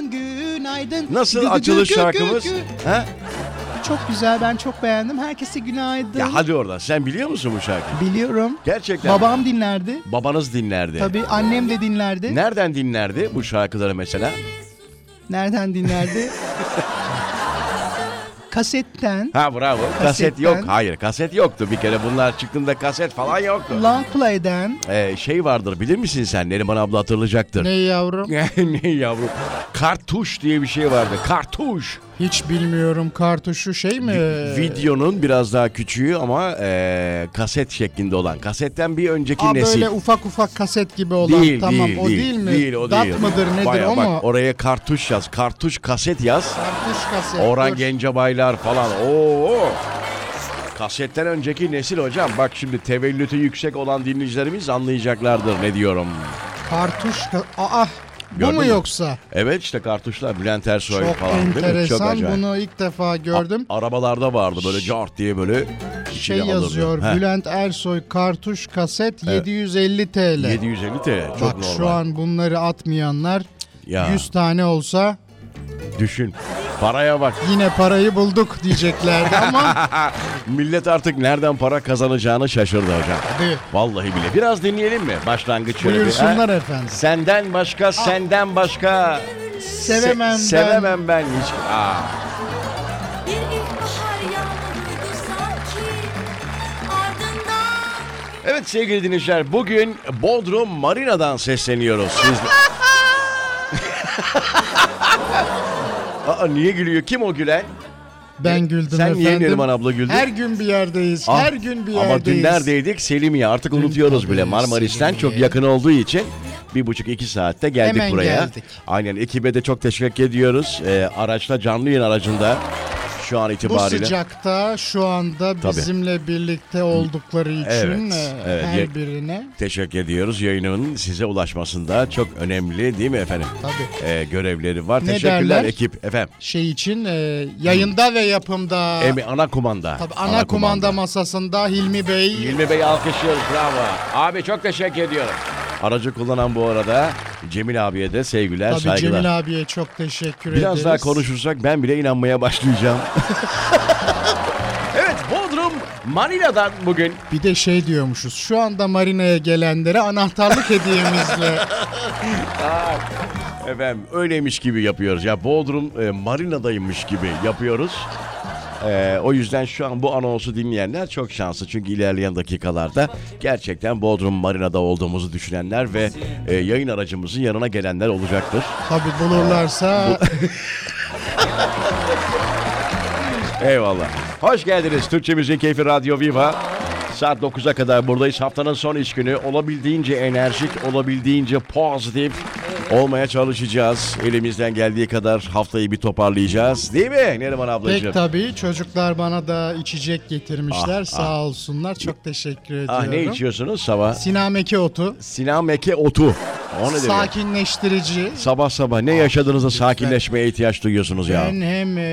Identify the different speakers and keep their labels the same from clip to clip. Speaker 1: günaydın.
Speaker 2: Nasıl
Speaker 1: Gü- gü-
Speaker 2: açılış
Speaker 1: gü- gü-
Speaker 2: şarkımız?
Speaker 1: gü.
Speaker 2: Ha?
Speaker 1: Çok güzel ben çok beğendim. Herkese günaydın.
Speaker 2: Ya hadi oradan. Sen biliyor musun bu şarkıyı?
Speaker 1: Biliyorum.
Speaker 2: Gerçekten.
Speaker 1: Babam dinlerdi.
Speaker 2: Babanız dinlerdi.
Speaker 1: Tabii annem de dinlerdi.
Speaker 2: Nereden dinlerdi bu şarkıları mesela?
Speaker 1: Nereden dinlerdi? Kasetten.
Speaker 2: Ha bravo. Kaset
Speaker 1: Kasetten.
Speaker 2: yok. Hayır kaset yoktu bir kere. Bunlar çıktığında kaset falan yoktu.
Speaker 1: Long play'den.
Speaker 2: Ee, şey vardır bilir misin sen? Neriman abla hatırlayacaktır.
Speaker 3: Ne yavrum?
Speaker 2: ne yavrum? Kartuş diye bir şey vardı. Kartuş.
Speaker 3: Hiç bilmiyorum kartuşu şey mi?
Speaker 2: Videonun biraz daha küçüğü ama ee, kaset şeklinde olan. Kasetten bir önceki
Speaker 3: Aa,
Speaker 2: nesil.
Speaker 3: böyle ufak ufak kaset gibi olan.
Speaker 2: değil,
Speaker 3: tamam
Speaker 2: değil,
Speaker 3: o değil, mi?
Speaker 2: Değil, o
Speaker 3: Dat
Speaker 2: değil.
Speaker 3: mıdır nedir
Speaker 2: Bayağı
Speaker 3: o
Speaker 2: bak,
Speaker 3: mu?
Speaker 2: Oraya kartuş yaz. Kartuş kaset yaz.
Speaker 3: Kartuş kaset.
Speaker 2: Orhan
Speaker 3: dur.
Speaker 2: Gencebaylar falan. Oo. Kasetten önceki nesil hocam. Bak şimdi tevellütü yüksek olan dinleyicilerimiz anlayacaklardır ne diyorum.
Speaker 3: Kartuş ka- Aa bu
Speaker 2: Gördün
Speaker 3: mu
Speaker 2: mü?
Speaker 3: yoksa?
Speaker 2: Evet işte kartuşlar Bülent Ersoy
Speaker 3: Çok
Speaker 2: falan değil mi? Çok
Speaker 3: enteresan.
Speaker 2: acayip.
Speaker 3: Bunu ilk defa gördüm.
Speaker 2: A- arabalarda vardı böyle cart diye böyle
Speaker 3: şey
Speaker 2: içine alırdı.
Speaker 3: yazıyor.
Speaker 2: Heh,
Speaker 3: Bülent Ersoy kartuş kaset 750 TL.
Speaker 2: 750 TL. Çok
Speaker 3: Bak
Speaker 2: normal.
Speaker 3: şu an bunları atmayanlar
Speaker 2: Ya.
Speaker 3: 100 tane olsa
Speaker 2: Düşün. Paraya bak.
Speaker 3: yine parayı bulduk diyeceklerdi ama
Speaker 2: Millet artık nereden para kazanacağını şaşırdı hocam.
Speaker 3: Değil.
Speaker 2: Vallahi bile. Biraz dinleyelim mi? Başlangıç şöyle bir, ha?
Speaker 3: buyursunlar efendim.
Speaker 2: Senden başka, senden başka.
Speaker 3: Sevemem
Speaker 2: Se-
Speaker 3: ben.
Speaker 2: Sevemem ben hiç. Aa,
Speaker 4: Bir ilkbahar yağmuruydu sanki Ardından
Speaker 2: Evet sevgili dinleyiciler bugün Bodrum Marina'dan sesleniyoruz. Siz... Aa, niye gülüyor? Kim o gülen?
Speaker 3: Ben güldüm
Speaker 2: Sen
Speaker 3: efendim.
Speaker 2: niye Neriman abla güldün?
Speaker 3: Her gün bir yerdeyiz.
Speaker 2: Ah,
Speaker 3: her gün bir
Speaker 2: Ama dün
Speaker 3: yerdeyiz.
Speaker 2: neredeydik? Selimiye. Artık unutuyoruz bile.
Speaker 3: tabii,
Speaker 2: Marmaris'ten çok
Speaker 3: Selimiye.
Speaker 2: yakın olduğu için bir buçuk iki saatte geldik
Speaker 3: Hemen
Speaker 2: buraya.
Speaker 3: geldik.
Speaker 2: Aynen ekibe de çok teşekkür ediyoruz. Ee, araçta canlı yayın aracında şu an
Speaker 3: Bu
Speaker 2: itibariyle.
Speaker 3: sıcakta şu anda
Speaker 2: Tabii.
Speaker 3: bizimle birlikte oldukları için
Speaker 2: Evet,
Speaker 3: e,
Speaker 2: evet. Ye-
Speaker 3: her birine
Speaker 2: Teşekkür ediyoruz. Yayının size ulaşmasında çok önemli değil mi efendim?
Speaker 3: Tabii.
Speaker 2: Ee, görevleri var.
Speaker 3: Ne
Speaker 2: Teşekkürler
Speaker 3: derler?
Speaker 2: ekip efendim.
Speaker 3: şey için e, yayında ve yapımda
Speaker 2: Emi ana kumanda.
Speaker 3: tabii ana, kumanda, masasında Hilmi Bey
Speaker 2: Hilmi Bey alkışlıyoruz bravo. Abi çok teşekkür ediyorum. Aracı kullanan bu arada Cemil abiye de sevgiler
Speaker 3: tabii
Speaker 2: saygılar.
Speaker 3: Cemil abiye çok teşekkür ederiz.
Speaker 2: Biraz daha konuşursak ben bile inanmaya başlayacağım. evet Bodrum Manila'dan bugün
Speaker 3: Bir de şey diyormuşuz. Şu anda marinaya gelenlere anahtarlık hediyemizle
Speaker 2: efendim öyleymiş gibi yapıyoruz. Ya Bodrum e, Marina'daymış gibi yapıyoruz. E, o yüzden şu an bu anonsu dinleyenler çok şanslı. Çünkü ilerleyen dakikalarda gerçekten Bodrum Marina'da olduğumuzu düşünenler ve e, yayın aracımızın yanına gelenler olacaktır.
Speaker 3: tabii bulurlarsa
Speaker 2: Eyvallah. Hoş geldiniz Türkçemizin Keyfi Radyo Viva. Saat 9'a kadar buradayız. Haftanın son iş günü. Olabildiğince enerjik, olabildiğince pozitif olmaya çalışacağız. Elimizden geldiği kadar haftayı bir toparlayacağız. Değil mi Neriman ablacığım?
Speaker 3: Pek tabii çocuklar bana da içecek getirmişler sağ olsunlar çok teşekkür ediyorum.
Speaker 2: ah ne içiyorsunuz sabah?
Speaker 3: Sinameke otu
Speaker 2: Sinameke otu. O ne demek?
Speaker 3: sakinleştirici.
Speaker 2: Sabah sabah ne yaşadığınızda sakinleşmeye ihtiyaç duyuyorsunuz ya. Hmm.
Speaker 3: Ben hem e,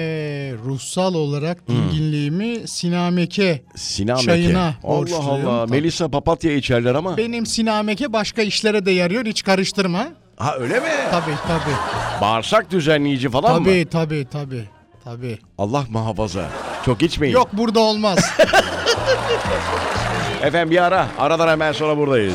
Speaker 3: ruhsal olarak dinginliğimi sinameke
Speaker 2: Sinameke.
Speaker 3: çayına
Speaker 2: Allah
Speaker 3: borçluyum.
Speaker 2: Allah.
Speaker 3: Tabii.
Speaker 2: Melisa papatya içerler ama.
Speaker 3: benim sinameke başka işlere de yarıyor hiç karıştırma.
Speaker 2: Ha öyle mi?
Speaker 3: Tabii tabii.
Speaker 2: Bağırsak düzenleyici falan mı?
Speaker 3: Tabii tabii tabii. Tabii.
Speaker 2: Allah muhafaza. Çok içmeyin.
Speaker 3: Yok burada olmaz.
Speaker 2: Efendim bir ara. Aradan hemen sonra buradayız.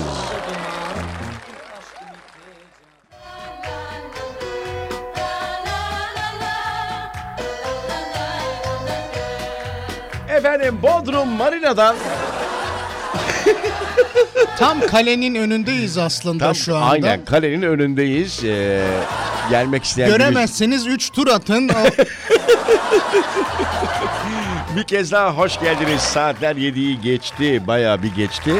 Speaker 2: Efendim Bodrum Marina'dan
Speaker 3: Tam kalenin önündeyiz aslında
Speaker 2: tam
Speaker 3: şu anda.
Speaker 2: aynen kalenin önündeyiz. Ee, gelmek isteyen
Speaker 3: Göremezseniz 3 tur atın. O-
Speaker 2: bir- bir kez daha hoş geldiniz. Saatler 7'yi geçti. Bayağı bir geçti.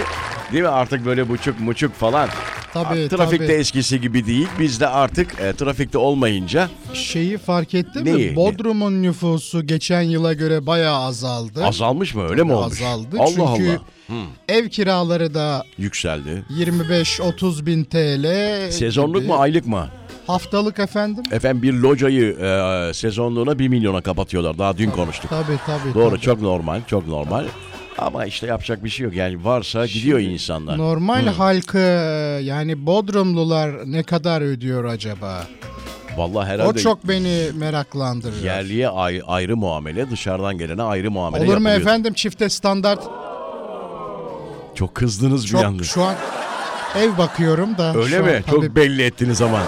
Speaker 2: Değil mi? Artık böyle buçuk muçuk falan.
Speaker 3: Tabii,
Speaker 2: trafikte
Speaker 3: tabii.
Speaker 2: eskisi gibi değil. Biz de artık e, trafikte olmayınca
Speaker 3: Şeyi fark ettin
Speaker 2: Neyi?
Speaker 3: mi? Bodrum'un nüfusu geçen yıla göre bayağı azaldı.
Speaker 2: azalmış mı? Öyle mi olmuş?
Speaker 3: Azaldı
Speaker 2: Allah
Speaker 3: çünkü
Speaker 2: Allah. Hmm.
Speaker 3: ev kiraları da
Speaker 2: Yükseldi.
Speaker 3: 25-30 bin TL.
Speaker 2: Sezonluk
Speaker 3: gibi.
Speaker 2: mu aylık mı?
Speaker 3: Haftalık efendim.
Speaker 2: Efendim bir locayı e, sezonluğuna 1 milyona kapatıyorlar. Daha dün konuştuk.
Speaker 3: Tabii tabii.
Speaker 2: Doğru
Speaker 3: tabii.
Speaker 2: çok normal çok normal. Ama işte yapacak bir şey yok. Yani varsa gidiyor insanlar.
Speaker 3: Normal halkı yani Bodrumlular ne kadar ödüyor acaba?
Speaker 2: Vallahi herhalde
Speaker 3: O çok beni meraklandırıyor.
Speaker 2: yerliye ay- ayrı muamele, dışarıdan gelene ayrı muamele
Speaker 3: Olur mu
Speaker 2: yapılıyor.
Speaker 3: efendim çifte standart?
Speaker 2: Çok kızdınız bir
Speaker 3: Çok
Speaker 2: yalnız.
Speaker 3: şu an ev bakıyorum da.
Speaker 2: Öyle
Speaker 3: şu an
Speaker 2: mi? Çok
Speaker 3: tabii
Speaker 2: belli ettiniz ama.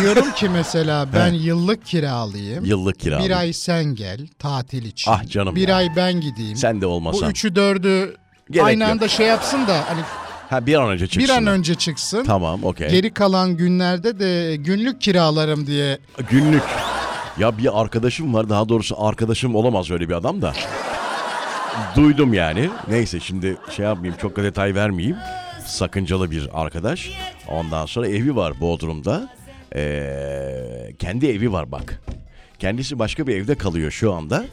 Speaker 3: diyorum ki mesela ben yıllık kiralayayım.
Speaker 2: Yıllık kira.
Speaker 3: Bir ay sen gel tatil için.
Speaker 2: Ah canım
Speaker 3: Bir
Speaker 2: ya.
Speaker 3: ay ben gideyim.
Speaker 2: Sen de olmasan.
Speaker 3: Bu üçü dördü
Speaker 2: Gerek
Speaker 3: aynı
Speaker 2: yok.
Speaker 3: anda şey yapsın da hani
Speaker 2: Ha bir an önce çıksın.
Speaker 3: bir an önce çıksın.
Speaker 2: Tamam okey.
Speaker 3: Geri kalan günlerde de günlük kiralarım diye
Speaker 2: Günlük. Ya bir arkadaşım var daha doğrusu arkadaşım olamaz öyle bir adam da. Duydum yani. Neyse şimdi şey yapmayayım çok da detay vermeyeyim. Sakıncalı bir arkadaş. Ondan sonra evi var Bodrum'da. Ee, kendi evi var bak. Kendisi başka bir evde kalıyor şu anda.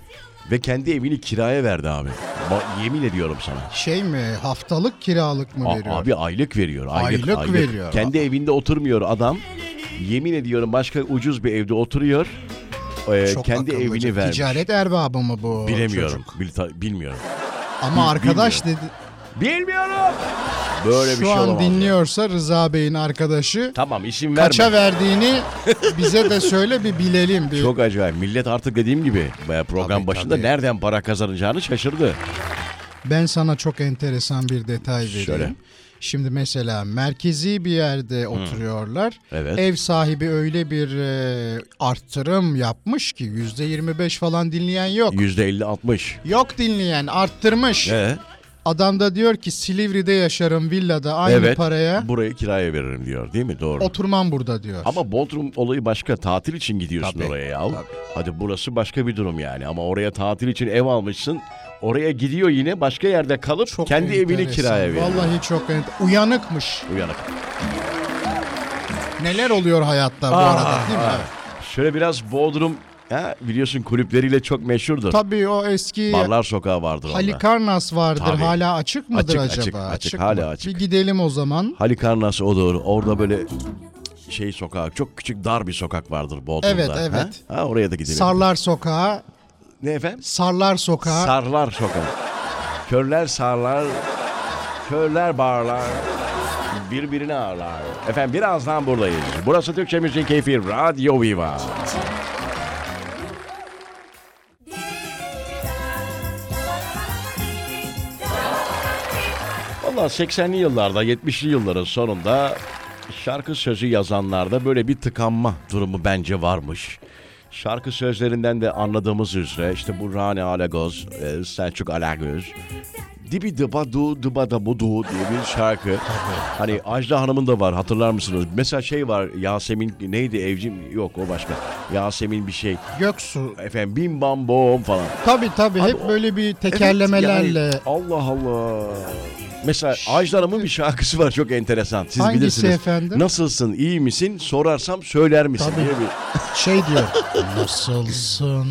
Speaker 2: Ve kendi evini kiraya verdi abi. Ba- yemin ediyorum sana.
Speaker 3: şey mi haftalık kiralık mı
Speaker 2: A-
Speaker 3: veriyor?
Speaker 2: Abi aylık veriyor. Aylık,
Speaker 3: Aylık veriyor.
Speaker 2: Kendi evinde oturmuyor adam. Yemin ediyorum başka ucuz bir evde oturuyor. Ee,
Speaker 3: Çok
Speaker 2: kendi
Speaker 3: akıllıca.
Speaker 2: evini vermiş.
Speaker 3: Ticaret erbabı mı bu
Speaker 2: Bilemiyorum.
Speaker 3: çocuk?
Speaker 2: Bil- ta- bilmiyorum.
Speaker 3: Ama
Speaker 2: Bil-
Speaker 3: arkadaş dedi
Speaker 2: Bilmiyorum. Böyle
Speaker 3: şu
Speaker 2: bir şey
Speaker 3: an
Speaker 2: olamaz.
Speaker 3: dinliyorsa Rıza Bey'in arkadaşı
Speaker 2: Tamam isim verme.
Speaker 3: kaça verdiğini bize de söyle bir bilelim. Bir.
Speaker 2: Çok acayip. Millet artık dediğim gibi e, program
Speaker 3: Tabii,
Speaker 2: başında
Speaker 3: tabii.
Speaker 2: nereden para kazanacağını şaşırdı.
Speaker 3: Ben sana çok enteresan bir detay vereyim.
Speaker 2: Şöyle.
Speaker 3: Şimdi mesela merkezi bir yerde oturuyorlar.
Speaker 2: Evet.
Speaker 3: Ev sahibi öyle bir e, arttırım yapmış ki %25 falan dinleyen yok.
Speaker 2: %50-60.
Speaker 3: Yok dinleyen arttırmış.
Speaker 2: Ee,
Speaker 3: Adam da diyor ki Silivri'de yaşarım villada aynı
Speaker 2: evet.
Speaker 3: paraya
Speaker 2: Burayı kiraya veririm diyor değil mi? Doğru.
Speaker 3: oturmam burada diyor.
Speaker 2: Ama Bodrum olayı başka. Tatil için gidiyorsun
Speaker 3: Tabii,
Speaker 2: oraya ya.
Speaker 3: tabii.
Speaker 2: Hadi burası başka bir durum yani. Ama oraya tatil için ev almışsın. Oraya gidiyor yine başka yerde kalıp
Speaker 3: Çok
Speaker 2: kendi evini
Speaker 3: enteresan.
Speaker 2: kiraya veriyor.
Speaker 3: Vallahi çok enter- uyanıkmış.
Speaker 2: Uyanık.
Speaker 3: Neler oluyor hayatta bu arada değil mi? Evet.
Speaker 2: Şöyle biraz Bodrum ha, biliyorsun kulüpleriyle çok meşhurdur.
Speaker 3: Tabii o eski
Speaker 2: Barlar sokağı vardır onda.
Speaker 3: Halikarnas vardır
Speaker 2: Tabii.
Speaker 3: hala açık mıdır
Speaker 2: Açık,
Speaker 3: acaba?
Speaker 2: açık, açık,
Speaker 3: mı?
Speaker 2: hala açık.
Speaker 3: Bir gidelim o zaman.
Speaker 2: Halikarnas o doğru. Orada böyle şey sokak çok küçük dar bir sokak vardır Bodrum'da.
Speaker 3: Evet,
Speaker 2: ha?
Speaker 3: evet.
Speaker 2: Ha? oraya da gidelim.
Speaker 3: Sarlar Sokağı,
Speaker 2: Ne efendim?
Speaker 3: Sarlar Sokağı.
Speaker 2: Sarlar sokağı. Körler sarlar, körler bağırlar, birbirine ağırlar. Efendim birazdan buradayız. Burası Türkçe Müziğin Keyfi Radyo Viva. Valla 80'li yıllarda, 70'li yılların sonunda şarkı sözü yazanlarda böyle bir tıkanma durumu bence varmış. Şarkı sözlerinden de anladığımız üzere işte bu Rani Alagöz, e, Selçuk Alagöz, Dibi dıba du dıba da bu du diye bir şarkı. Hani Ajda Hanım'ın da var hatırlar mısınız? Mesela şey var Yasemin neydi evcim yok o başka. Yasemin bir şey.
Speaker 3: Göksu.
Speaker 2: Efendim bim bam bom falan.
Speaker 3: Tabii tabii
Speaker 2: Abi
Speaker 3: hep
Speaker 2: o-
Speaker 3: böyle bir
Speaker 2: Evet,
Speaker 3: tekerlemelerle.
Speaker 2: yani Allah Allah. Mesela Ajda Hanım'ın bir şarkısı var çok enteresan. Siz
Speaker 3: Hangisi
Speaker 2: bilirsiniz.
Speaker 3: efendim?
Speaker 2: Nasılsın, iyi misin? Sorarsam söyler misin
Speaker 3: Tabii.
Speaker 2: diye bir.
Speaker 3: Şey diyor. Nasılsın?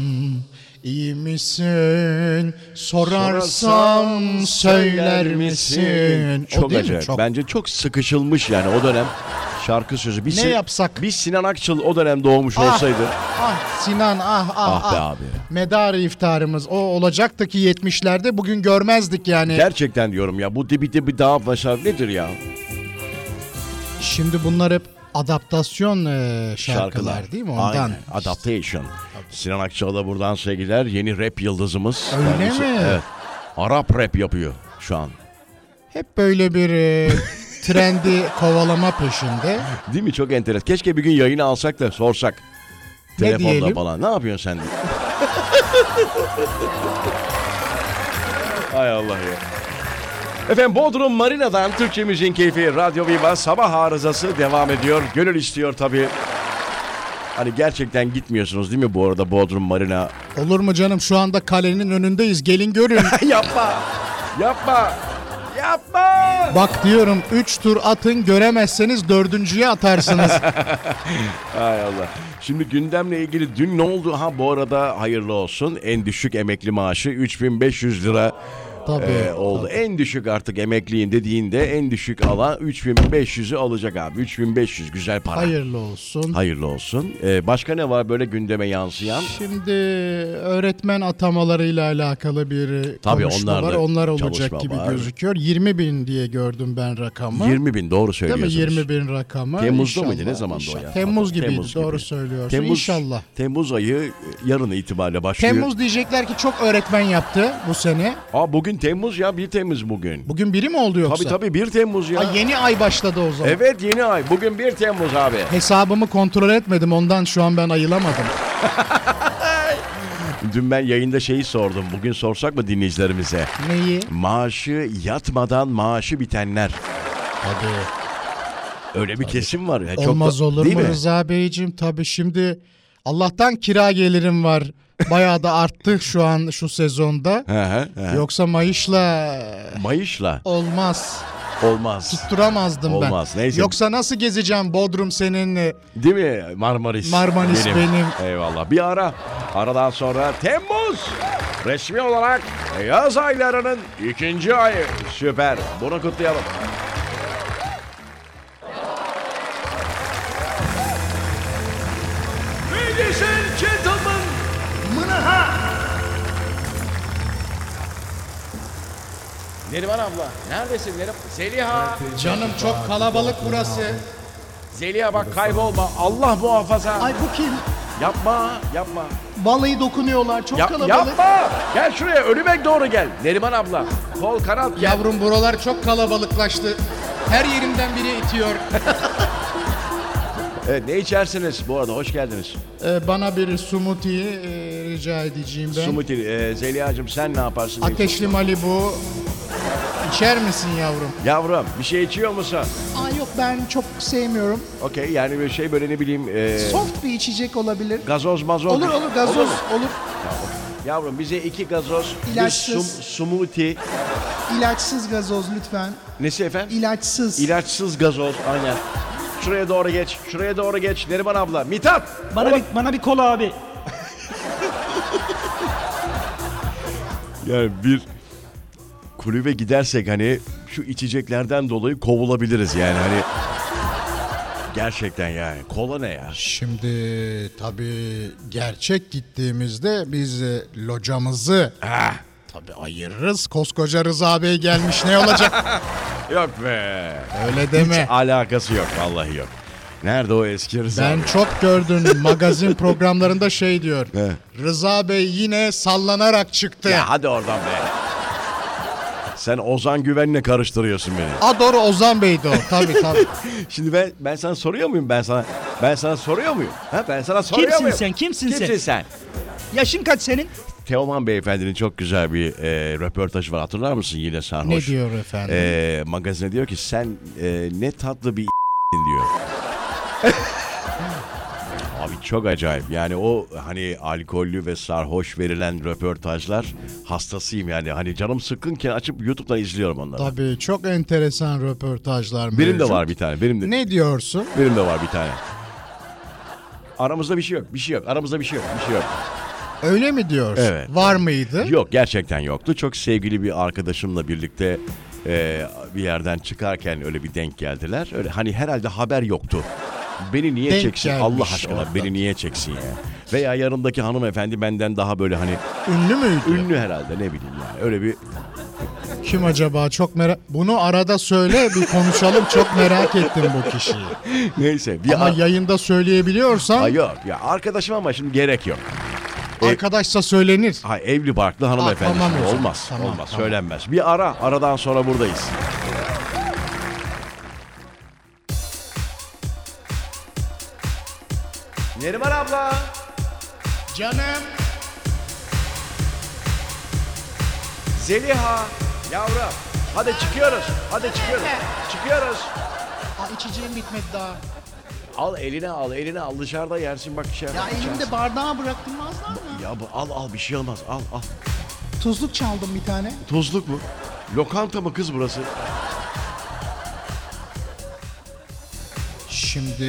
Speaker 3: İyi misin? Sorarsam söyler misin? O
Speaker 2: Çok
Speaker 3: değil mi?
Speaker 2: acayip.
Speaker 3: Çok-
Speaker 2: Bence çok sıkışılmış yani o dönem şarkı sözü. Bir
Speaker 3: Ne
Speaker 2: Sin-
Speaker 3: yapsak?
Speaker 2: Bir Sinan Akçıl o dönem doğmuş
Speaker 3: Ah!
Speaker 2: olsaydı.
Speaker 3: Ah Sinan ah ah ah.
Speaker 2: Ah be abi.
Speaker 3: Medar iftarımız o olacaktı ki 70'lerde bugün görmezdik yani.
Speaker 2: Gerçekten diyorum ya bu dibi dibi daha fazla nedir ya?
Speaker 3: Şimdi bunlar hep adaptasyon e, şarkılar,
Speaker 2: şarkılar
Speaker 3: değil mi? Ondan.
Speaker 2: Aynen. Adaptation. Sinan Akçal'a buradan sevgiler. Yeni rap yıldızımız.
Speaker 3: Öyle
Speaker 2: Kendisi-
Speaker 3: mi?
Speaker 2: Evet. Arap rap yapıyor şu an.
Speaker 3: Hep böyle bir e, trendi kovalama peşinde.
Speaker 2: Değil mi? Çok enteresan. Keşke bir gün yayını alsak da sorsak.
Speaker 3: Ne
Speaker 2: Telefonla
Speaker 3: diyelim?
Speaker 2: falan. Ne yapıyorsun sen? diye. Hay Allah ya. Efendim Bodrum Marina'dan Türkçe Müziğin Keyfi Radyo Viva sabah arızası devam ediyor. Gönül istiyor tabii. Hani gerçekten gitmiyorsunuz değil mi bu arada Bodrum Marina
Speaker 3: Olur mu canım şu anda kalenin önündeyiz gelin görün.
Speaker 2: yapma. Yapma. Yapma.
Speaker 3: Bak diyorum 3 tur atın göremezseniz dördüncüye atarsınız.
Speaker 2: Hay Allah. Şimdi gündemle ilgili dün ne oldu? Ha bu arada hayırlı olsun. En düşük emekli maaşı 3500 lira
Speaker 3: Tabii.
Speaker 2: Ee, oldu. En düşük artık emekliyim dediğinde en düşük alan 3500'ü alacak abi. 3500 güzel para.
Speaker 3: Hayırlı olsun.
Speaker 2: Hayırlı olsun. Ee, başka ne var böyle gündeme yansıyan?
Speaker 3: Şimdi öğretmen atamalarıyla alakalı bir e,
Speaker 2: Tabii
Speaker 3: konuşma
Speaker 2: onlar
Speaker 3: var.
Speaker 2: da
Speaker 3: Onlar
Speaker 2: çalışma
Speaker 3: olacak gibi
Speaker 2: var.
Speaker 3: gözüküyor. 20 bin diye gördüm ben rakamı.
Speaker 2: 20 bin doğru
Speaker 3: Değil mi?
Speaker 2: söylüyorsunuz.
Speaker 3: 20 bin rakamı.
Speaker 2: Temmuz'da
Speaker 3: İnşallah,
Speaker 2: mıydı? Ne zamandı o
Speaker 3: inşallah.
Speaker 2: ya?
Speaker 3: Temmuz gibiydi.
Speaker 2: Temmuz gibi.
Speaker 3: doğru söylüyorsun.
Speaker 2: Temmuz,
Speaker 3: İnşallah.
Speaker 2: Temmuz ayı e, yarın itibariyle başlıyor.
Speaker 3: Temmuz diyecekler ki çok öğretmen yaptı bu sene.
Speaker 2: Aa, bugün Temmuz ya 1 Temmuz bugün.
Speaker 3: Bugün biri mi oldu yoksa?
Speaker 2: Tabii tabii 1 Temmuz ya.
Speaker 3: Ay, yeni ay başladı o zaman.
Speaker 2: Evet yeni ay. Bugün 1 Temmuz abi.
Speaker 3: Hesabımı kontrol etmedim ondan şu an ben ayılamadım.
Speaker 2: Dün ben yayında şeyi sordum. Bugün sorsak mı dinleyicilerimize?
Speaker 3: Neyi?
Speaker 2: Maaşı yatmadan maaşı bitenler.
Speaker 3: Tabii.
Speaker 2: Öyle bir kesim var ya. E, Çok da-
Speaker 3: Olmaz olur
Speaker 2: değil
Speaker 3: mu
Speaker 2: mi?
Speaker 3: Rıza Beyciğim? Tabii şimdi Allah'tan kira gelirim var. Bayağı da arttı şu an şu sezonda.
Speaker 2: Hı hı, hı.
Speaker 3: Yoksa Mayış'la
Speaker 2: Mayışla
Speaker 3: olmaz.
Speaker 2: olmaz.
Speaker 3: Tutturamazdım ben.
Speaker 2: Olmaz, neyse.
Speaker 3: Yoksa nasıl gezeceğim Bodrum seninle?
Speaker 2: Değil mi Marmaris?
Speaker 3: Marmaris benim.
Speaker 2: Eyvallah. Bir ara. Aradan sonra Temmuz resmi olarak yaz aylarının ikinci ayı. Süper. Bunu kutlayalım.
Speaker 5: Ladies and gentlemen, Mınaha.
Speaker 2: Neriman abla neredesin Neriman? Zeliha.
Speaker 3: Canım çok kalabalık burası.
Speaker 2: Zeliha bak kaybolma. Allah muhafaza.
Speaker 1: Ay bu kim?
Speaker 2: Yapma yapma.
Speaker 1: Balayı dokunuyorlar. Çok
Speaker 2: Yap-
Speaker 1: kalabalık.
Speaker 2: yapma. Gel şuraya önüme doğru gel. Neriman abla. Kol kanat gel.
Speaker 3: Yavrum buralar çok kalabalıklaştı. Her yerimden biri itiyor.
Speaker 2: Evet, ne içersiniz bu arada hoş geldiniz.
Speaker 3: Ee, bana bir smoothie e, rica edeceğim ben.
Speaker 2: Sumuti, e, Zeliha'cığım sen ne yaparsın?
Speaker 3: Ateşli Malibu. İçer misin yavrum?
Speaker 2: Yavrum bir şey içiyor musun?
Speaker 1: Aa yok ben çok sevmiyorum.
Speaker 2: Okey yani bir şey böyle ne bileyim e,
Speaker 1: Soft bir içecek olabilir.
Speaker 2: gazoz mazoz.
Speaker 1: Olur olur gazoz
Speaker 2: mu?
Speaker 1: olur.
Speaker 2: Yavrum bize iki gazoz,
Speaker 1: İlaçsız.
Speaker 2: bir sum, sumuti.
Speaker 1: İlaçsız gazoz lütfen.
Speaker 2: Nesi efendim?
Speaker 1: İlaçsız.
Speaker 2: İlaçsız gazoz aynen. Şuraya doğru geç, şuraya doğru geç. Neriman abla, Mithat!
Speaker 6: Bana bir, bana bir kola abi.
Speaker 2: Yani bir kulübe gidersek hani şu içeceklerden dolayı kovulabiliriz yani hani. Gerçekten yani. Kola ne ya?
Speaker 3: Şimdi tabii gerçek gittiğimizde biz e, locamızı tabii ayırırız. Koskoca Rıza Bey gelmiş ne olacak?
Speaker 2: Şey Yok be.
Speaker 3: Öyle deme.
Speaker 2: Alakası yok vallahi yok. Nerede o eski Rıza?
Speaker 3: Ben
Speaker 2: Bey?
Speaker 3: çok gördüm magazin programlarında şey diyor. Rıza Bey yine sallanarak çıktı.
Speaker 2: Ya hadi oradan be. Sen Ozan Güven'le karıştırıyorsun beni.
Speaker 3: A doğru Ozan Bey'di o. Tabii tabii.
Speaker 2: Şimdi ben ben sana soruyor muyum ben sana? Ben sana soruyor muyum? Ha ben sana soruyor
Speaker 6: Kimsin
Speaker 2: muyum?
Speaker 6: sen? Kimsin sen?
Speaker 2: Kimsin sen?
Speaker 6: Yaşın kaç senin?
Speaker 2: Teoman Beyefendi'nin çok güzel bir e, röportajı var. Hatırlar mısın yine sarhoş?
Speaker 3: ne diyor efendim?
Speaker 2: e, magazine diyor ki sen e, ne tatlı bir diyor. Abi çok acayip. Yani o hani alkollü ve sarhoş verilen röportajlar hastasıyım yani. Hani canım sıkkınken açıp YouTube'dan izliyorum onları.
Speaker 3: Tabii çok enteresan röportajlar.
Speaker 2: Benim de
Speaker 3: mevcut.
Speaker 2: var bir tane. Benim de,
Speaker 3: Ne diyorsun?
Speaker 2: benim de var bir tane. Aramızda bir şey yok. Bir şey yok. Aramızda bir şey yok. Bir şey yok.
Speaker 3: Öyle mi diyorsun?
Speaker 2: Evet.
Speaker 3: Var mıydı?
Speaker 2: Yok gerçekten yoktu. Çok sevgili bir arkadaşımla birlikte e, bir yerden çıkarken öyle bir denk geldiler. Öyle hani herhalde haber yoktu. Beni niye
Speaker 3: Denk
Speaker 2: çeksin
Speaker 3: gelmiş
Speaker 2: Allah aşkına
Speaker 3: orada.
Speaker 2: beni niye çeksin ya. Veya yanımdaki hanımefendi benden daha böyle hani
Speaker 3: Ünlü müydü?
Speaker 2: ünlü herhalde ne bileyim yani öyle bir
Speaker 3: Kim acaba? Çok merak... Bunu arada söyle bir konuşalım. Çok merak ettim bu kişiyi.
Speaker 2: neyse bir
Speaker 3: Ama
Speaker 2: ar-
Speaker 3: yayında söyleyebiliyorsan
Speaker 2: Ay yok ya arkadaşım ama şimdi gerek yok. e-
Speaker 3: arkadaşsa söylenir.
Speaker 2: Ha, evli barklı hanımefendi
Speaker 3: tamam
Speaker 2: şimdi
Speaker 3: o zaman.
Speaker 2: olmaz
Speaker 3: Tamam,
Speaker 2: olmaz
Speaker 3: tamam.
Speaker 2: söylenmez. Bir ara aradan sonra buradayız. Neriman abla.
Speaker 3: Canım.
Speaker 2: Zeliha yavrum hadi çıkıyoruz hadi çıkıyoruz çıkıyoruz
Speaker 1: Aa, içeceğim bitmedi daha.
Speaker 2: al eline al eline al dışarıda yersin bak şey
Speaker 1: Ya elimde bardağı bıraktırmazlar mı?
Speaker 2: ya bu, al al bir şey olmaz al al
Speaker 1: Tuzluk çaldım bir tane.
Speaker 2: tozluk mu lokanta mı kız burası
Speaker 3: Şimdi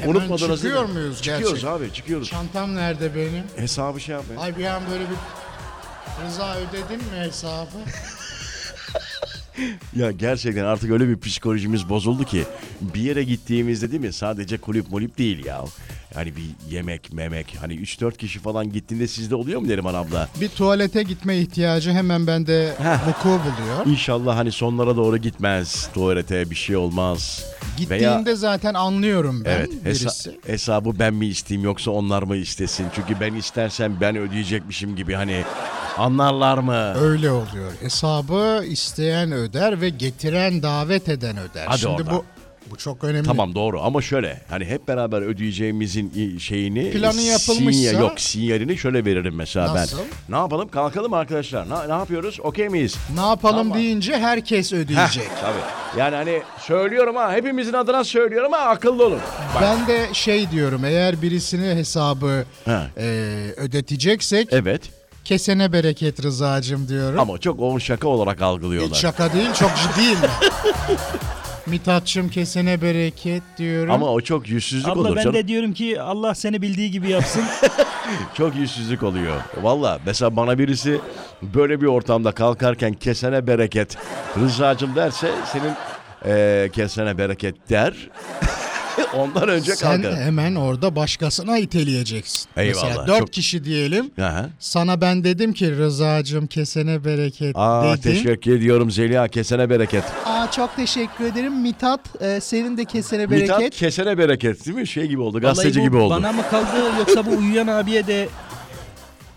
Speaker 3: hemen
Speaker 2: unutmadınız
Speaker 3: E, çıkıyor
Speaker 2: değil mi?
Speaker 3: muyuz
Speaker 2: çıkıyoruz
Speaker 3: gerçekten?
Speaker 2: abi çıkıyoruz
Speaker 3: Çantam nerede benim?
Speaker 2: hesabı şey yapmayın
Speaker 3: Ay bir an böyle bir Rıza ödedin mi hesabı?
Speaker 2: Ya gerçekten artık öyle bir psikolojimiz bozuldu ki bir yere gittiğimizde değil mi sadece kulüp mulüp değil ya. Hani bir yemek memek hani 3-4 kişi falan gittiğinde sizde oluyor mu Neriman abla?
Speaker 3: Bir tuvalete gitme ihtiyacı hemen bende vuku buluyor.
Speaker 2: İnşallah hani sonlara doğru gitmez tuvalete bir şey olmaz.
Speaker 3: Gittiğimde zaten anlıyorum ben
Speaker 2: Evet hesa-
Speaker 3: birisi.
Speaker 2: hesabı ben mi isteyeyim yoksa onlar mı istesin? Çünkü ben istersen ben ödeyecekmişim gibi hani anlarlar mı?
Speaker 3: Öyle oluyor. Hesabı isteyen öder ve getiren davet eden öder.
Speaker 2: Hadi
Speaker 3: Şimdi
Speaker 2: oradan.
Speaker 3: bu bu çok önemli.
Speaker 2: Tamam doğru ama şöyle hani hep beraber ödeyeceğimizin i- şeyini
Speaker 3: Planı yapılmışsa-
Speaker 2: sinya- yok sinyalini şöyle veririm mesela
Speaker 3: Nasıl?
Speaker 2: ben. Ne yapalım kalkalım arkadaşlar ne, ne yapıyoruz okey miyiz?
Speaker 3: Ne yapalım
Speaker 2: Tamam.
Speaker 3: deyince herkes ödeyecek.
Speaker 2: Heh, tabii yani hani söylüyorum ha hepimizin adına söylüyorum ha akıllı olun. Bak,
Speaker 3: Ben de şey diyorum eğer birisini hesabı
Speaker 2: Ha.
Speaker 3: e, ödeteceksek
Speaker 2: Evet
Speaker 3: kesene bereket rızacım diyorum.
Speaker 2: ama çok o şaka olarak algılıyorlar.
Speaker 3: Hiç şaka değil çok ciddiyim. ben. Mithatçım kesene bereket diyorum.
Speaker 2: ama o çok yüzsüzlük
Speaker 6: Abla
Speaker 2: olur
Speaker 6: ben
Speaker 2: canım.
Speaker 6: de diyorum ki Allah seni bildiği gibi yapsın.
Speaker 2: Çok yüzsüzlük oluyor. Valla mesela bana birisi böyle bir ortamda kalkarken kesene bereket Rıza'cım derse senin eee, kesene bereket der. Ondan önce
Speaker 3: Sen e,
Speaker 2: kalkar.
Speaker 3: hemen orada başkasına iteleyeceksin.
Speaker 2: Eyvallah,
Speaker 3: Mesela dört
Speaker 2: çok-
Speaker 3: kişi diyelim.
Speaker 2: Aha.
Speaker 3: Sana ben dedim ki Rıza'cığım kesene bereket
Speaker 2: Aa
Speaker 3: dedim.
Speaker 2: teşekkür ediyorum Zeliha kesene bereket.
Speaker 1: Aa çok teşekkür ederim. Mithat e, senin de kesene bereket.
Speaker 2: Mithat kesene bereket değil mi? Şey gibi oldu gazeteci
Speaker 6: Vallahi bu
Speaker 2: gibi oldu.
Speaker 6: Bana mı kaldı yoksa bu uyuyan abiye de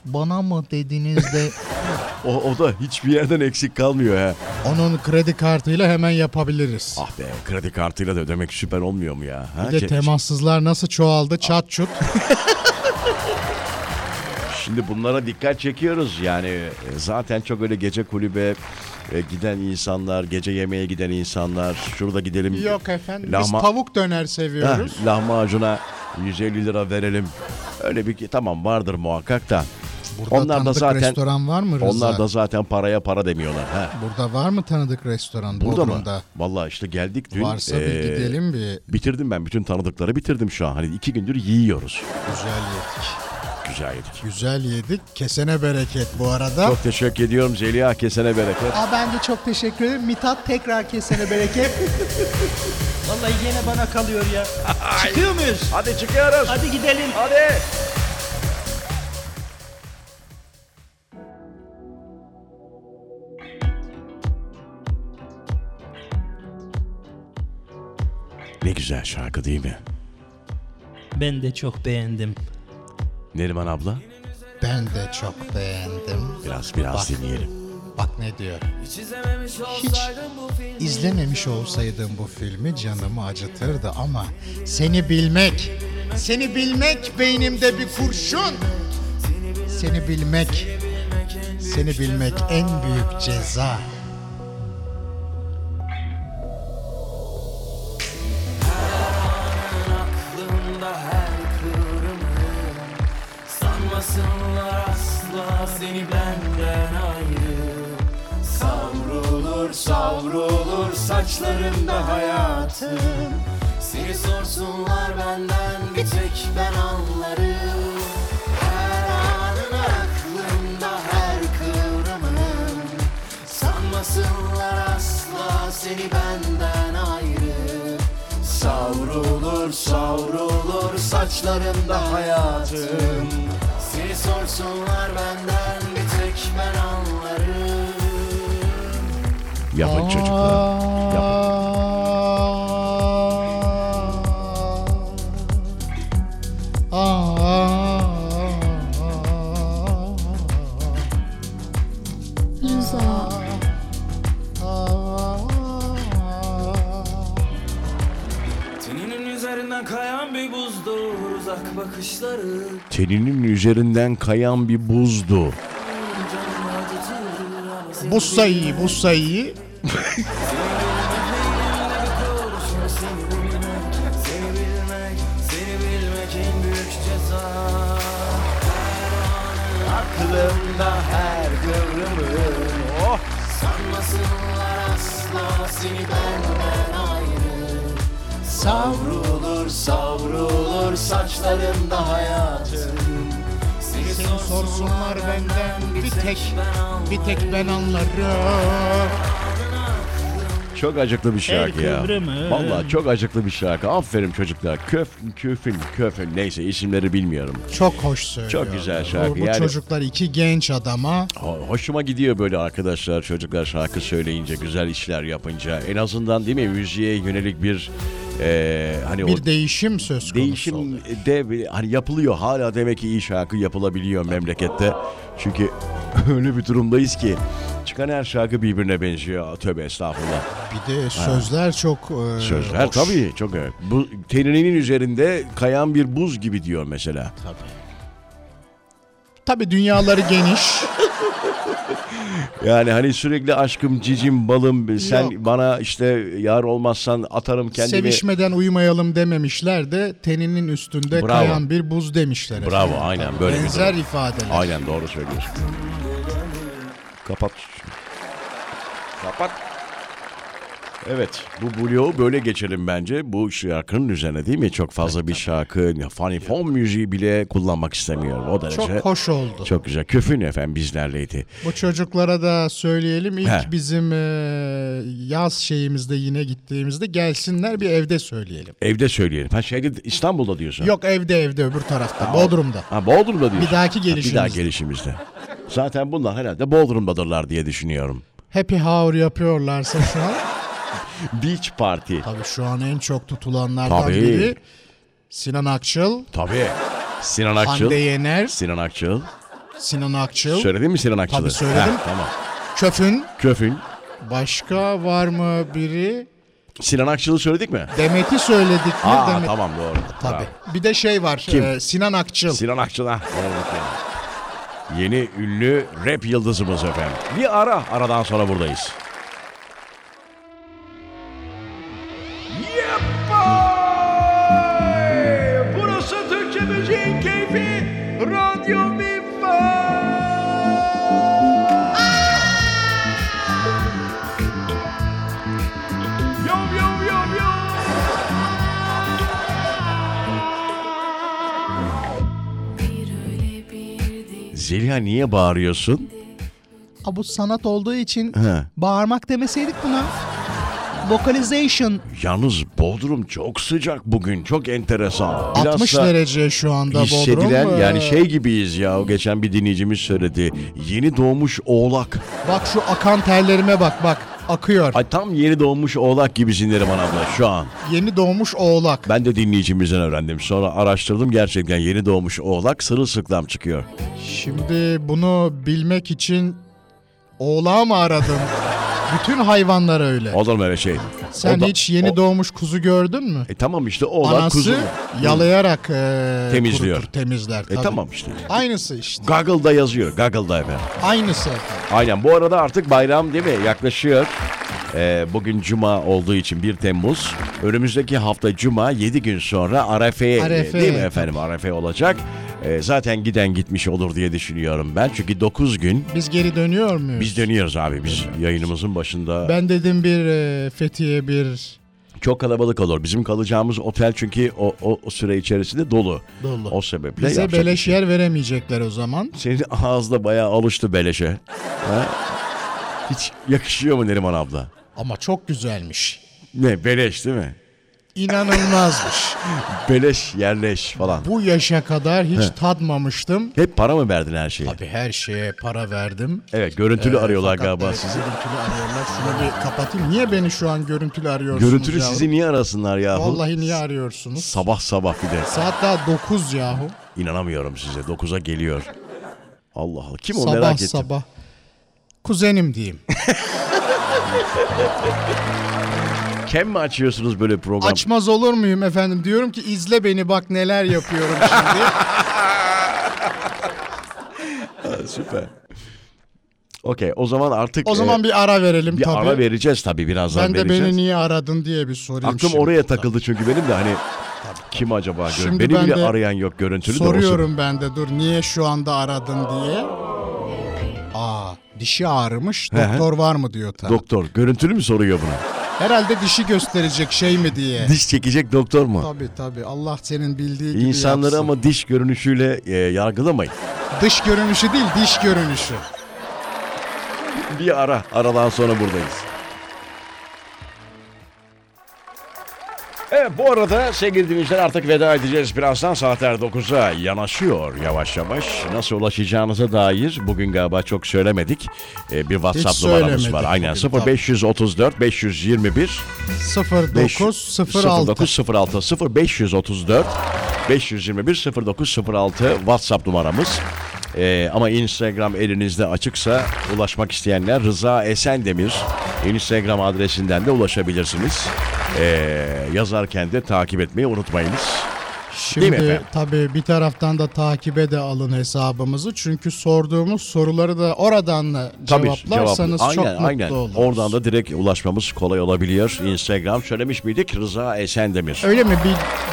Speaker 3: Bana mı dediniz de
Speaker 2: O, o da hiçbir yerden eksik kalmıyor ha.
Speaker 3: onun kredi kartıyla hemen yapabiliriz.
Speaker 2: Ah be kredi kartıyla da ödemek süper olmuyor mu ya? Ha?
Speaker 3: Bir
Speaker 2: şey,
Speaker 3: de
Speaker 2: Ke-
Speaker 3: temassızlar nasıl çoğaldı çat çut.
Speaker 2: Şimdi bunlara dikkat çekiyoruz yani e, zaten çok öyle gece kulübe e, giden insanlar, gece yemeğe giden insanlar, şurada gidelim.
Speaker 3: Yok efendim biz
Speaker 2: Lahma-
Speaker 3: tavuk döner
Speaker 2: Heh,
Speaker 3: seviyoruz.
Speaker 2: lahmacuna 150 lira verelim. Öyle bir tamam vardır muhakkak da.
Speaker 3: Burada tanıdık restoran var mı Rıza?
Speaker 2: Onlar da zaten paraya para demiyorlar. Ha.
Speaker 3: Burada var mı tanıdık restoran
Speaker 2: Burada
Speaker 3: Bodrum'da?
Speaker 2: mı? Vallahi işte geldik dün.
Speaker 3: Varsa
Speaker 2: e,
Speaker 3: bir gidelim bir
Speaker 2: Bitirdim ben bütün tanıdıkları bitirdim şu an. Hani iki gündür yiyoruz.
Speaker 3: güzel yedik.
Speaker 2: Güzel yedik.
Speaker 3: Güzel yedik. Kesene bereket bu arada.
Speaker 2: Çok teşekkür ediyorum Zeliha kesene bereket.
Speaker 1: Aa ben de çok teşekkür ederim. Mithat tekrar kesene bereket.
Speaker 6: vallahi yine bana kalıyor ya. Çıkıyor muyuz?
Speaker 2: Hadi çıkıyoruz.
Speaker 6: Hadi gidelim.
Speaker 2: Hadi. Ne güzel şarkı değil mi?
Speaker 6: Ben de çok beğendim.
Speaker 2: Neriman abla
Speaker 3: Ben de çok beğendim.
Speaker 2: biraz biraz dinleyelim.
Speaker 3: Bak ne diyor. Hiç izlememiş olsaydım bu filmi canımı acıtırdı ama seni bilmek, seni bilmek beynimde bir kurşun. Seni bilmek, seni bilmek en büyük ceza.
Speaker 7: aklımda her kıvrımı Sanmasınlar asla seni benden ayrı Savrulur savrulur saçlarında hayatım Seni sorsunlar benden bir tek ben anlarım Her anın aklımda her kıvrımım Sanmasınlar asla seni benden ayrı Savrulur savrulur saçlarında hayatım Seni sorsunlar benden bir tek ben anlarım
Speaker 2: Yapın çocuklar. Yapın.
Speaker 8: Rıza,
Speaker 7: Teninin üzerinden kayan bir buzdur uzak bakışları
Speaker 2: Teninin üzerinden kayan bir buzdu.
Speaker 7: Canımı acıtır ama seni
Speaker 3: Bu sayıyı, bu sayıyı
Speaker 7: Kurşun seni bilmek, seni bilmek, seni bilmek en büyük ceza. Aklımda her kıvrımın oh. Sanmasınlar asla seni benden ayrı Savrulur savrulur saçlarımda hayatım Seni,
Speaker 3: sorsunlar benden bir tek
Speaker 7: ben anlarım
Speaker 3: bir tek ben anlarım.
Speaker 2: Çok acıklı bir şarkı ya.
Speaker 6: kıvrımı.
Speaker 2: Vallahi çok acıklı bir şarkı. Aferin çocuklar. Köf, köfün, köfün. Neyse isimleri bilmiyorum.
Speaker 3: Çok hoş söylüyor.
Speaker 2: Çok güzel
Speaker 3: Bu-
Speaker 2: şarkı.
Speaker 3: Bu,
Speaker 2: Yani-
Speaker 3: çocuklar iki genç adama
Speaker 2: Ho- Hoşuma gidiyor böyle arkadaşlar, çocuklar şarkı söyleyince, güzel işler yapınca. En azından değil mi müziğe yönelik bir eee, hani o
Speaker 3: bir değişim söz konusu oluyor.
Speaker 2: değişim de bir- hani yapılıyor. Hala demek ki iyi şarkı yapılabiliyor memlekette. Çünkü öyle bir durumdayız ki çıkan her şarkı birbirine benziyor. Tövbe estağfurullah.
Speaker 3: Bir de sözler çok e,
Speaker 2: Sözler
Speaker 3: hoş.
Speaker 2: tabii çok evet. Bu teninin üzerinde kayan bir buz gibi diyor mesela.
Speaker 3: Tabii dünyaları geniş.
Speaker 2: Yani hani sürekli aşkım cicim balım sen
Speaker 3: Yok.
Speaker 2: bana işte yar olmazsan atarım kendimi.
Speaker 3: Sevişmeden uyumayalım dememişler de teninin üstünde
Speaker 2: Bravo.
Speaker 3: kayan bir buz demişler.
Speaker 2: Bravo
Speaker 3: efendim.
Speaker 2: aynen böyle bir
Speaker 3: Benzer
Speaker 2: durum.
Speaker 3: ifadeler.
Speaker 2: Aynen doğru söylüyorsun. Kapat. Kapat. Evet bu bloğu böyle geçelim bence. Bu şarkının üzerine değil mi? Çok fazla bir şarkı. Funny Phone müziği bile kullanmak istemiyorum. O derece.
Speaker 3: Çok hoş oldu.
Speaker 2: Çok güzel. Köfün efendim bizlerleydi.
Speaker 3: Bu çocuklara da söyleyelim ilk
Speaker 2: He.
Speaker 3: bizim e, yaz şeyimizde yine gittiğimizde gelsinler bir evde söyleyelim.
Speaker 2: Evde söyleyelim. Ha şeyde İstanbul'da diyorsun.
Speaker 3: Yok evde evde öbür tarafta Bodrum'da.
Speaker 2: Ha Bodrum'da diyorsun.
Speaker 3: Bir dahaki
Speaker 2: Ha, Bir daha
Speaker 3: gelişimizde.
Speaker 2: gelişimizde. Zaten bunlar herhalde Bodrum'dadırlar diye düşünüyorum.
Speaker 3: Happy hour yapıyorlarsa şu an.
Speaker 2: Beach Party.
Speaker 3: Tabii şu an en çok tutulanlardan
Speaker 2: Tabii.
Speaker 3: biri Sinan Akçıl,
Speaker 2: Tabii. Sinan Akçıl.
Speaker 3: Hande Yener,
Speaker 2: Sinan Akçıl.
Speaker 3: Sinan Akçıl,
Speaker 2: Söyledin mi Sinan Akçıl'ı?
Speaker 3: Tabii söyledim.
Speaker 2: Heh, tamam.
Speaker 3: Köfün.
Speaker 2: Köfün.
Speaker 3: Başka var mı biri?
Speaker 2: Sinan Akçıl'ı söyledik mi?
Speaker 3: Demet'i söyledik mi?
Speaker 2: Aa
Speaker 3: Demet-
Speaker 2: tamam doğru.
Speaker 3: Tabii.
Speaker 2: Bravo.
Speaker 3: Bir de şey var.
Speaker 2: Kim?
Speaker 3: e, Sinan Akçıl.
Speaker 2: Sinan Akçıl ha. Doğru. Yeni ünlü rap yıldızımız efendim. Bir ara. Aradan sonra buradayız.
Speaker 5: Yepay! Burası Türkçe Müziğin Keyfi Radyo Viva. Yo yo yo yo.
Speaker 2: Zeliha niye bağırıyorsun?
Speaker 1: Aa, bu sanat olduğu için
Speaker 2: He.
Speaker 1: bağırmak demeseydik buna. Vocalization.
Speaker 2: Yalnız Bodrum çok sıcak bugün. Çok enteresan. Biraz
Speaker 3: 60
Speaker 2: da
Speaker 3: derece şu anda Bodrum.
Speaker 2: Hissedilen
Speaker 3: E,
Speaker 2: yani şey gibiyiz ya. O geçen bir dinleyicimiz söyledi. Yeni doğmuş oğlak.
Speaker 3: Bak şu akan tellerime bak bak. Akıyor.
Speaker 2: Ay tam yeni doğmuş oğlak gibisin derim abla şu an.
Speaker 3: Yeni doğmuş oğlak.
Speaker 2: Ben de dinleyicimizden öğrendim. Sonra araştırdım gerçekten yeni doğmuş oğlak sırılsıklam çıkıyor.
Speaker 3: Şimdi bunu bilmek için oğlağı mı aradın? Bütün hayvanlar öyle.
Speaker 2: Olur mu öyle şey?
Speaker 3: Sen
Speaker 2: O da-
Speaker 3: hiç yeni
Speaker 2: o-
Speaker 3: doğmuş kuzu gördün mü?
Speaker 2: E tamam işte oğlak
Speaker 3: Anası
Speaker 2: kuzu. E,
Speaker 3: yalayarak e,
Speaker 2: Temizliyor.
Speaker 3: kurutur, temizler.
Speaker 2: E
Speaker 3: tabii.
Speaker 2: tamam işte.
Speaker 3: Aynısı işte.
Speaker 2: Google'da yazıyor. Google'da efendim.
Speaker 3: Aynısı efendim.
Speaker 2: Aynen bu arada artık bayram değil mi? Yaklaşıyor. Ee, bugün Cuma olduğu için 1 Temmuz. Önümüzdeki hafta Cuma 7 gün sonra Arefe'ye
Speaker 3: Arefe,
Speaker 2: değil mi
Speaker 3: tabii.
Speaker 2: efendim? Arefe olacak. Ee, zaten giden gitmiş olur diye düşünüyorum ben. Çünkü 9 gün
Speaker 3: Biz geri dönüyor muyuz?
Speaker 2: biz dönüyoruz abi. Biz yayınımızın başında
Speaker 3: Ben dedim bir e, Fethiye bir
Speaker 2: Çok kalabalık olur. Bizim kalacağımız otel çünkü o, o, o süre içerisinde dolu.
Speaker 3: Dolu.
Speaker 2: O sebeple
Speaker 3: bize
Speaker 2: yapacak
Speaker 3: beleş
Speaker 2: bir şey yok.
Speaker 3: yer veremeyecekler o zaman.
Speaker 2: Senin ağızda bayağı alıştı beleşe. Ha? Hiç yakışıyor mu Neriman abla?
Speaker 3: Ama çok güzelmiş.
Speaker 2: Ne beleş değil mi?
Speaker 3: İnanılmazmış.
Speaker 2: Beleş yerleş falan.
Speaker 3: Bu yaşa kadar hiç tatmamıştım.
Speaker 2: Hep para mı verdin her şeye?
Speaker 3: Abi her şeye para verdim.
Speaker 2: Evet görüntülü arıyorlar
Speaker 3: Fakat
Speaker 2: galiba
Speaker 3: evet,
Speaker 2: sizi.
Speaker 3: Görüntülü arıyorlar. Şunu bir kapatayım. Niye beni şu an görüntülü arıyorsunuz
Speaker 2: Görüntülü
Speaker 3: yahu?
Speaker 2: sizi niye arasınlar yahu?
Speaker 3: Vallahi niye arıyorsunuz?
Speaker 2: Sabah sabah bir de.
Speaker 3: Saat daha 9 yahu.
Speaker 2: İnanamıyorum size. 9'a geliyor. Allah Allah. Kim o
Speaker 3: sabah
Speaker 2: merak ettim.
Speaker 3: sabah. Kuzenim diyeyim.
Speaker 2: Kem mi açıyorsunuz böyle program?
Speaker 3: Açmaz olur muyum efendim? Diyorum ki izle beni bak neler yapıyorum şimdi.
Speaker 2: Süper. Okey o zaman artık
Speaker 3: O zaman
Speaker 2: e,
Speaker 3: bir ara verelim
Speaker 2: bir
Speaker 3: tabii.
Speaker 2: ara vereceğiz tabii birazdan
Speaker 3: ben de
Speaker 2: vereceğiz.
Speaker 3: beni niye aradın diye bir sorayım
Speaker 2: Aklım
Speaker 3: şimdi.
Speaker 2: oraya takıldı çünkü benim de hani kim acaba? gör-
Speaker 3: Şimdi
Speaker 2: Beni
Speaker 3: ben
Speaker 2: bile
Speaker 3: de
Speaker 2: arayan yok görüntülü de olsun.
Speaker 3: Soruyorum ben de dur niye şu anda aradın diye. Aa dişi ağrımış
Speaker 2: He he.
Speaker 3: doktor var mı diyor tabii.
Speaker 2: Doktor görüntülü mü soruyor bunu?
Speaker 3: Herhalde dişi gösterecek şey mi diye.
Speaker 2: Diş çekecek doktor mu?
Speaker 3: Tabii tabii Allah senin bildiği gibi
Speaker 2: İnsanları
Speaker 3: yapsın.
Speaker 2: ama diş görünüşüyle e, yargılamayın.
Speaker 3: Dış görünüşü değil diş görünüşü.
Speaker 2: Bir ara aradan sonra buradayız. Evet bu arada sevgili dinleyiciler artık veda edeceğiz. Birazdan saatler 9'a yanaşıyor yavaş yavaş. Nasıl ulaşacağınıza dair bugün galiba çok söylemedik. Ee, bir WhatsApp numaramız
Speaker 3: söylemedik
Speaker 2: var. Aynen
Speaker 3: bugün, tabii.
Speaker 2: 0534 521
Speaker 3: 0906
Speaker 2: 0906 0534 521 0906 WhatsApp numaramız. Ee, ama Instagram elinizde açıksa ulaşmak isteyenler Rıza Esen Demir Instagram adresinden de ulaşabilirsiniz. Ee, yazarken de takip etmeyi unutmayınız. Değil
Speaker 3: Şimdi
Speaker 2: mi efendim?
Speaker 3: tabii bir taraftan da takibe de alın hesabımızı. Çünkü sorduğumuz soruları da oradan da
Speaker 2: Tabii,
Speaker 3: cevaplarsanız
Speaker 2: cevap-
Speaker 3: çok
Speaker 2: aynen,
Speaker 3: mutlu
Speaker 2: aynen.
Speaker 3: oluruz.
Speaker 2: Oradan da direkt ulaşmamız kolay olabiliyor. Instagram söylemiş miydik? Rıza Esen Demir.
Speaker 3: Öyle mi?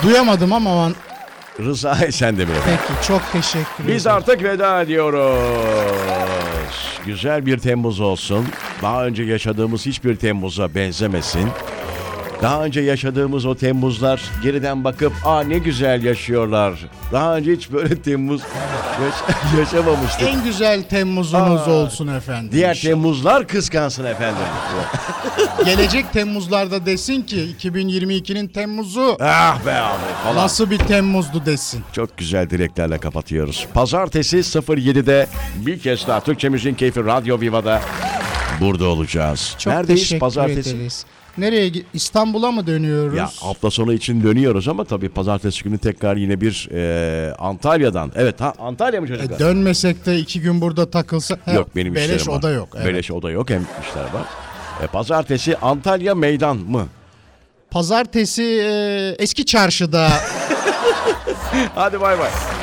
Speaker 3: Bir duyamadım ama an-
Speaker 2: Rıza Esen Demir. efendim.
Speaker 3: peki çok teşekkür ederim.
Speaker 2: Biz artık veda ediyoruz. Güzel bir Temmuz olsun. Daha önce yaşadığımız hiçbir Temmuz'a benzemesin. Daha önce yaşadığımız o Temmuzlar geriden bakıp aa ne güzel yaşıyorlar. Daha önce hiç böyle Temmuz yaş- yaşamamıştık.
Speaker 3: En güzel Temmuz'unuz olsun efendim.
Speaker 2: Diğer Temmuzlar kıskansın efendim.
Speaker 3: Gelecek Temmuz'larda desin ki 2022'nin Temmuz'u
Speaker 2: ah be abi falan.
Speaker 3: nasıl bir Temmuz'du desin.
Speaker 2: Çok güzel dileklerle kapatıyoruz. Pazartesi 07'de bir kez daha Türkçe Müziğin Keyfi Radyo Viva'da burada olacağız.
Speaker 3: Çok teşekkür ederiz. Nereye gi- İstanbul'a mı dönüyoruz?
Speaker 2: Ya hafta sonu için dönüyoruz ama tabii pazartesi günü tekrar yine bir e, Antalya'dan. Evet ha Antalya mı çocuklar?
Speaker 3: E, dönmesek de iki gün burada takılsa He,
Speaker 2: yok benim
Speaker 3: beleş
Speaker 2: işlerim var.
Speaker 3: o da yok. evet.
Speaker 2: Beleş o da yok hem işler var. E, pazartesi Antalya meydan mı?
Speaker 3: Pazartesi e, eski çarşıda
Speaker 2: Hadi bay bay.